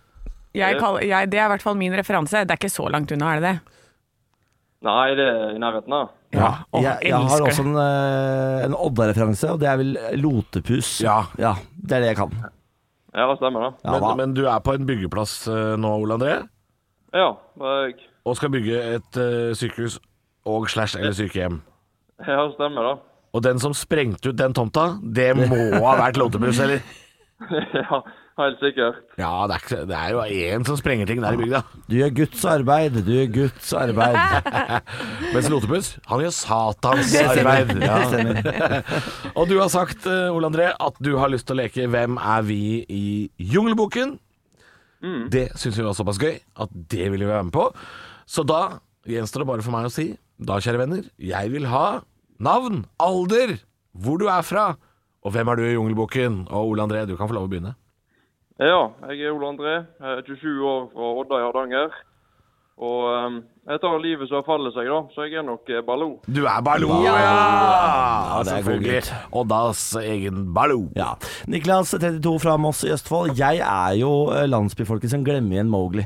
Speaker 4: Jeg kaller, jeg, det er i hvert fall min referanse. Det er ikke så langt unna, er det det?
Speaker 7: Nei, det er i nærheten, da.
Speaker 3: Ja.
Speaker 4: Åh,
Speaker 2: jeg, jeg har
Speaker 4: elsker
Speaker 2: også en, eh, en Odda-referanse, og det er vel Lotepus.
Speaker 3: Ja.
Speaker 2: det er det jeg kan.
Speaker 7: Ja, det stemmer, det.
Speaker 2: Ja,
Speaker 3: Men,
Speaker 2: hva?
Speaker 3: men du er på en byggeplass eh, nå, Ole André,
Speaker 7: Ja, det er jeg.
Speaker 3: og skal bygge et eh, sykehus og slash eller sykehjem.
Speaker 7: Ja, det stemmer, det.
Speaker 3: Og den som sprengte ut den tomta, det må ha vært Lotepus, eller?
Speaker 7: [LAUGHS] ja, helt sikkert.
Speaker 3: Ja, det er, ikke, det er jo én som sprenger ting der i bygda.
Speaker 2: Du gjør Guds arbeid, du gjør Guds arbeid.
Speaker 3: [LAUGHS] Mens Lotepus, han gjør satans arbeid. Ja. Og du har sagt, eh, Ole André, at du har lyst til å leke Hvem er vi i Jungelboken? Det syns vi var såpass gøy at det ville vi være med på. Så da gjenstår det bare for meg å si, da, kjære venner, jeg vil ha navn, alder, hvor du er fra, og hvem er du i Jungelboken? Og Ole André, du kan få lov å begynne.
Speaker 7: Ja, jeg er Ole André, jeg er 27 år fra Odda i Hardanger. Og eh, jeg tar livet som faller seg, da, så jeg er nok eh, Ballo.
Speaker 3: Du er Baloo, ja!
Speaker 2: Ja, det er god
Speaker 3: selvfølgelig. Oddas egen Baloo.
Speaker 2: Ja. Niklas, 32 fra Moss i Østfold. Jeg er jo eh, landsbyfolket som glemmer igjen Mowgli.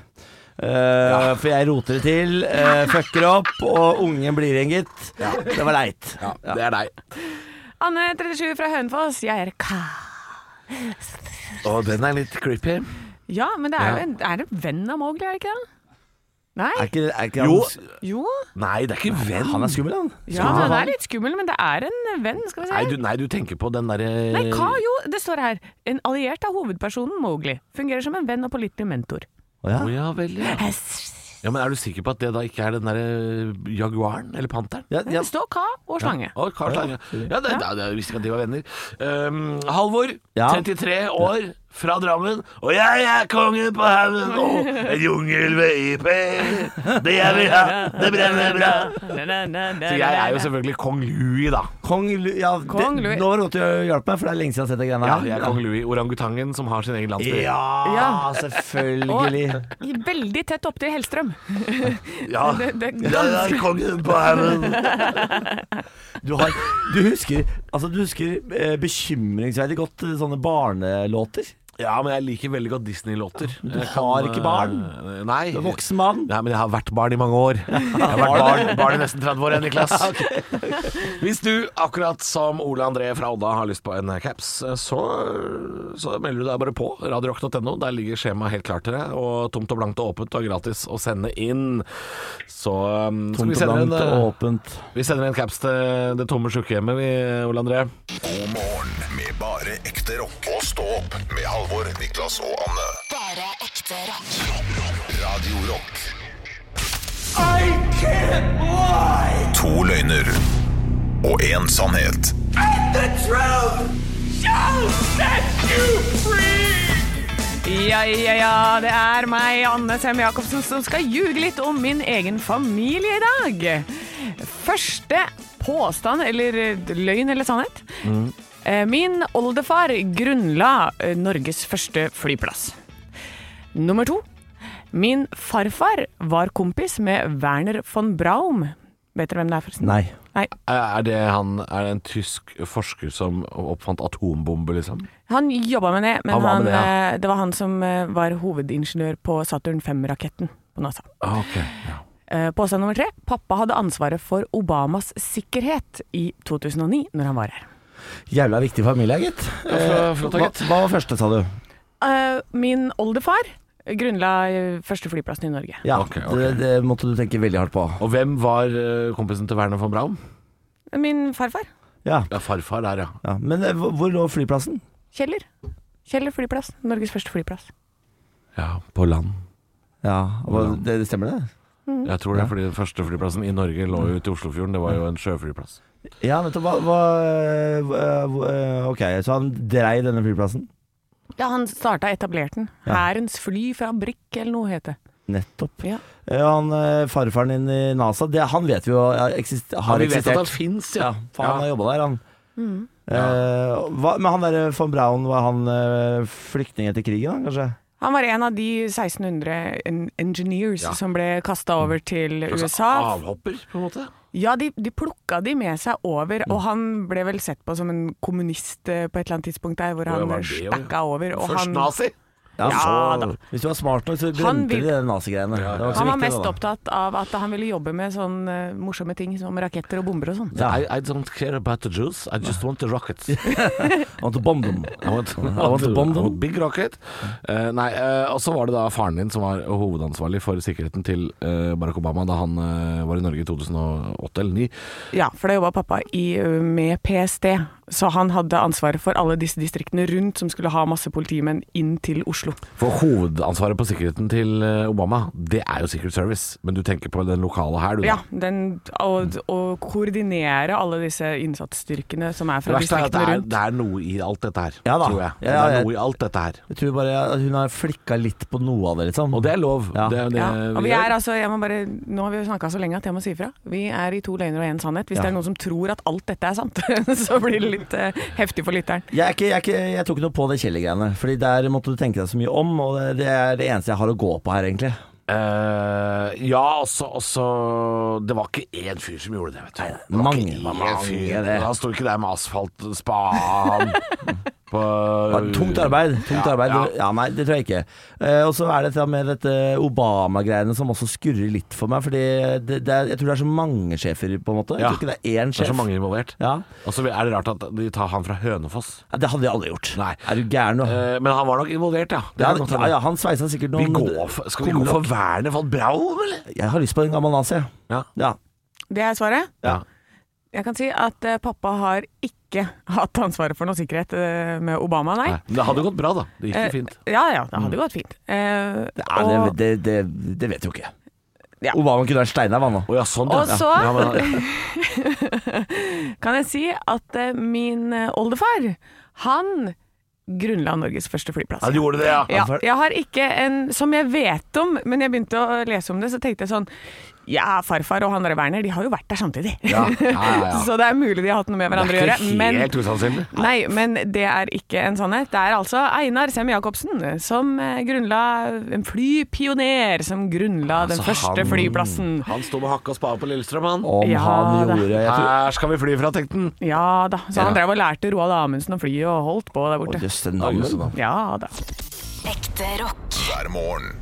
Speaker 2: Eh, For jeg roter det til, eh, fucker opp, og ungen blir igjen, gitt. Det var leit.
Speaker 3: Ja, det er deg.
Speaker 4: Anne 37 fra Hønefoss. Jeg er ka.
Speaker 3: Og den er litt creepy.
Speaker 4: Ja, men det er jo
Speaker 3: Ja.
Speaker 4: en, er det en venn av Mowgli, er det ikke det? Nei?
Speaker 2: Er ikke, er ikke
Speaker 3: Jo.
Speaker 2: Han,
Speaker 4: Jo.
Speaker 3: Nei, det er ikke venn.
Speaker 2: han er skummel, han.
Speaker 4: Ja, han er litt skummel, men det er en venn, skal vi se.
Speaker 3: Nei, du, nei, du tenker på den derre
Speaker 4: Nei, hva jo? Det står her. En alliert av hovedpersonen Mowgli. Fungerer som en venn og pålitelig mentor.
Speaker 2: Å ja.
Speaker 3: Å ja vel, ja.
Speaker 4: Hess.
Speaker 3: Ja, men Er du sikker på at det da ikke er den derre Jaguaren eller Panteren?
Speaker 2: Ja, ja.
Speaker 4: Det står ka og slange.
Speaker 3: Ja, og Karl Slange. Ja, det, det, jeg visste ikke at de var venner. Um, Halvor,
Speaker 2: Ja.
Speaker 3: 33 år, fra Drammen. Og jeg er kongen på haugen og en jungel ved IP. Det jeg vil ha, det brenner bra. Så jeg er jo selvfølgelig kong Louis, da.
Speaker 2: Kong, Lu- ja, det,
Speaker 4: Kong Louis.
Speaker 2: Nå var det godt du hjalp meg, for det er lenge siden jeg har sett de greiene
Speaker 3: Ja,
Speaker 2: her.
Speaker 3: jeg er kong Louis, orangutangen som har sin egen landsby.
Speaker 2: Ja,
Speaker 4: Ja.
Speaker 2: selvfølgelig.
Speaker 4: Og veldig tett opptil Hellstrøm.
Speaker 3: Ja.
Speaker 4: Det, det,
Speaker 3: Jeg er kongen på haugen.
Speaker 2: Du, har, du husker, altså, du husker eh, bekymringsverdig godt eh, sånne barnelåter.
Speaker 3: [LAUGHS] Ja, men jeg liker veldig godt Disney-låter.
Speaker 2: Men du
Speaker 3: Jeg
Speaker 2: har ikke barn.
Speaker 3: eh, Nei.
Speaker 2: Du er voksen mann.
Speaker 3: Nei, men jeg har vært barn i mange år. Jeg har vært barn, barn i nesten 30 år, jeg, Niklas.
Speaker 2: [LAUGHS]
Speaker 3: Hvis du, akkurat som Ole André fra Odda, har lyst på en eh, caps, så, så melder du deg bare på. Radiorock.no. Der ligger skjemaet helt klart til deg. Og tomt og blankt og åpent og gratis å sende inn. Så um, skal
Speaker 2: Tomt
Speaker 3: vi
Speaker 2: og
Speaker 3: sende en,
Speaker 2: blankt og
Speaker 3: eh,
Speaker 2: åpent.
Speaker 3: vi sender en caps til det tomme sjukehjemmet, vi, Ole André.
Speaker 6: God morgen med bare ekte rock. Og stå opp med Halvor, Niklas og Anne.
Speaker 12: Bare ekte rock.
Speaker 6: Radio Rock.
Speaker 10: I can't lie!
Speaker 6: To løgner og én sannhet.
Speaker 10: And the truth shall set you free!
Speaker 4: Ja, ja, ja, det er meg, Anne Sem Jacobsen, som skal ljuge litt om min egen familie i dag. Første påstand, eller eh, løgn eller sannhet.
Speaker 3: Mm.
Speaker 4: Eh, Min oldefar grunnla eh, Norges første flyplass. Nummer to. Min farfar var kompis med Werner von Braum. Vet dere hvem det er, forresten?
Speaker 2: Nei.
Speaker 4: Nei.
Speaker 3: Er det, han, er det en tysk forsker som oppfant atombombe, liksom?
Speaker 4: Han jobba med det, men
Speaker 3: Han
Speaker 4: han
Speaker 3: var med det,
Speaker 4: eh, det var han som eh, var hovedingeniør på Saturn 5-raketten på NASA.
Speaker 3: Okay, ja.
Speaker 4: Eh, Påstand nummer tre. Pappa hadde ansvaret for Obamas sikkerhet i 2009, når han var her.
Speaker 2: Jævla viktig familie, gitt. Eh,
Speaker 3: Ja, flott,
Speaker 2: hva,
Speaker 3: gitt.
Speaker 2: hva var første, sa du?
Speaker 4: Eh, Min oldefar grunnla eh, første flyplassen i Norge.
Speaker 2: Ja,
Speaker 3: Ok, ok.
Speaker 2: Det, det måtte du tenke veldig hardt på.
Speaker 3: Og hvem var eh, kompisen til Werner von Braun?
Speaker 4: Min farfar.
Speaker 2: Ja,
Speaker 3: Ja, farfar der, ja.
Speaker 2: ja. Men eh, hvor hvor lå flyplassen?
Speaker 4: Kjeller. Kjeller flyplass. Norges første flyplass.
Speaker 3: Ja, På land.
Speaker 2: Ja, hva- det, det stemmer det?
Speaker 3: Jeg tror det, fordi den første flyplassen i Norge lå jo ute i Oslofjorden. Det var jo en sjøflyplass.
Speaker 2: Ja, nettopp. Hva, hva, eh, hva- eh, ok, så han drei denne flyplassen?
Speaker 4: Ja, han starta etablert den.
Speaker 2: Ja.
Speaker 4: Hærens flyfabrikk, eller noe het det.
Speaker 2: Nettopp.
Speaker 4: Ja.
Speaker 2: Eh, Han, eh, farfaren din i NASA, det, han vet vi jo er eksist, har
Speaker 3: vi vet
Speaker 2: eksistert.
Speaker 3: at han fins, ja.
Speaker 2: ja, for han
Speaker 3: Ja.
Speaker 2: har jobba der, han. Eh, hva, men han der von Braun, var han eh, flyktning etter krigen, da, kanskje?
Speaker 4: Han var en av de 1600 en- engineers
Speaker 3: Ja.
Speaker 4: som ble kasta over til
Speaker 3: Altså,
Speaker 4: USA.
Speaker 3: Avhopper, på en måte.
Speaker 4: Ja, de, de plukka de med seg over,
Speaker 3: Mm.
Speaker 4: og han ble vel sett på som en kommunist eh, på et eller annet tidspunkt der, hvor
Speaker 3: ja,
Speaker 4: han
Speaker 3: var det, ja.
Speaker 4: stakka over. Og
Speaker 3: Først
Speaker 4: han,
Speaker 3: nazi.
Speaker 2: Ja,
Speaker 4: Ja,
Speaker 2: så, hvis du var smart nok, så
Speaker 4: Han
Speaker 2: glemte
Speaker 4: vil-
Speaker 2: de de nazigreiene. Det ikke så
Speaker 4: han var
Speaker 2: viktig,
Speaker 4: mest
Speaker 2: da.
Speaker 4: opptatt av at han ville jobbe med sånne eh, morsomme ting som raketter og bomber og sånn.
Speaker 2: Ja.
Speaker 3: I, I don't care about the Jews, I just want the rockets.
Speaker 2: I want to bomb
Speaker 3: [LAUGHS]
Speaker 2: them.
Speaker 3: I want,
Speaker 2: I want to bomb them.
Speaker 3: I want big rocket. Eh, nei, eh, og så var det da faren din som var hovedansvarlig for sikkerheten til eh, Barack Obama da han eh, var i Norge i 2008 eller 2009.
Speaker 4: Ja, for da jobba pappa i, eh, med PST, så han hadde ansvaret for alle disse distriktene rundt som skulle ha masse politimenn inn til Oslo.
Speaker 3: For hovedansvaret på sikkerheten til eh, Obama, det er jo Secret Service. Men du tenker på den lokale her, du.
Speaker 4: Ja,
Speaker 3: da.
Speaker 4: den, å, å koordinere alle disse innsatsstyrkene som er
Speaker 3: Det
Speaker 4: fra
Speaker 3: verste er at det
Speaker 4: distriktene
Speaker 3: er,
Speaker 4: rundt.
Speaker 3: det er noe i alt dette her,
Speaker 2: Ja da.
Speaker 3: tror jeg.
Speaker 2: Ja, ja,
Speaker 3: Det
Speaker 2: jeg-
Speaker 3: er noe i alt dette her.
Speaker 2: Jeg tror bare at hun har flikka litt på noe av det, liksom.
Speaker 3: Og det er lov.
Speaker 2: Ja.
Speaker 3: Det er jo det
Speaker 4: Ja, og vi
Speaker 3: gjør.
Speaker 4: er altså, jeg må bare, Nå har vi jo snakka så lenge at jeg må si ifra. Vi er i to løgner og én sannhet. Hvis
Speaker 2: Ja.
Speaker 4: det er noen som tror at alt dette er sant, [LAUGHS] så blir det litt eh, heftig for lytteren.
Speaker 2: Jeg, er ikke, jeg, er ikke, jeg tok noe på det Kjell-greiene, Fordi der måtte du tenke deg så mye om, og det, det er det eneste jeg har å gå på her, egentlig.
Speaker 3: Eh, ja, også, også Det var ikke én fyr som gjorde det, vet du. Det var
Speaker 2: mange,
Speaker 3: ikke én
Speaker 2: mange,
Speaker 3: fyr.
Speaker 2: det.
Speaker 3: Han sto ikke der med
Speaker 2: [LAUGHS]
Speaker 3: asfaltspan på
Speaker 2: Det var tungt arbeid. tungt
Speaker 3: Ja,
Speaker 2: arbeid.
Speaker 3: ja.
Speaker 2: Ja, Nei, det tror jeg ikke. Eh, og så er det dette med dette Obama-greiene som også skurrer litt for meg. Fordi det, det er, jeg tror det er så mange sjefer, på en måte. Jeg
Speaker 3: Ja.
Speaker 2: tror ikke det er én
Speaker 3: Det
Speaker 2: sjef.
Speaker 3: er så mange involvert.
Speaker 2: Ja.
Speaker 3: Og så er det rart at de tar han fra Hønefoss.
Speaker 2: Ja, Det hadde jeg aldri gjort.
Speaker 3: Nei.
Speaker 2: Er du gæren nå?
Speaker 3: Eh, men han var nok involvert, ja. Det
Speaker 2: ja,
Speaker 3: er godt å
Speaker 2: ja, ja, han sveisa sikkert
Speaker 3: Vi
Speaker 2: noen
Speaker 3: går for, skal vi gå for Werner von Braun, eller?
Speaker 2: Jeg har lyst på en gammel nazi.
Speaker 3: Ja.
Speaker 2: Ja.
Speaker 4: Det er svaret.
Speaker 3: Ja.
Speaker 4: Jeg kan si at eh, pappa har ikke hatt ansvaret for noe sikkerhet eh, med Obama, nei.
Speaker 3: Nei, men det hadde gått bra, da. Det gikk
Speaker 4: Eh,
Speaker 3: jo fint.
Speaker 4: Ja ja, det hadde gått fint. Eh,
Speaker 2: Ja,
Speaker 4: og
Speaker 2: det, det, det, det vet jeg jo ikke.
Speaker 4: Ja.
Speaker 2: Obama kunne vært steinar, han nå.
Speaker 3: Oh, ja, sånn,
Speaker 4: Og så
Speaker 2: Ja, men,
Speaker 4: kan jeg si at eh, min eh, oldefar, han grunnla Norges første flyplass.
Speaker 3: Ja, du gjorde det, ja.
Speaker 4: ja.
Speaker 3: Ja, for-
Speaker 4: Jeg har ikke en som jeg vet om, men jeg begynte å lese om det, så tenkte jeg sånn Ja, farfar og han der Werner, de har jo vært der samtidig.
Speaker 3: Ja, ja, ja, ja.
Speaker 4: [LAUGHS] så det er mulig de har hatt noe med hverandre å
Speaker 3: det
Speaker 4: gjøre.
Speaker 3: er ikke
Speaker 4: Men
Speaker 3: helt usannsynlig.
Speaker 4: Nei, men det er ikke en sannhet. Det er altså Einar Sem-Jacobsen som eh, grunnla En flypioner som grunnla den
Speaker 3: Altså,
Speaker 4: første
Speaker 3: han-
Speaker 4: flyplassen.
Speaker 3: Han sto med hakka og spade på Lillestrøm, han.
Speaker 2: Om
Speaker 4: Ja,
Speaker 2: han
Speaker 4: da.
Speaker 2: gjorde jeg tror,
Speaker 3: Her skal vi fly fra, tenkte han.
Speaker 4: Ja da. Så han
Speaker 3: Ja.
Speaker 4: drev og lærte Roald Amundsen å fly og holdt på der borte.
Speaker 2: Å, jøsse
Speaker 3: Å, jøsse
Speaker 2: navn.
Speaker 3: navn.
Speaker 4: Ja da.
Speaker 12: Ekte rock.
Speaker 6: hver morgen.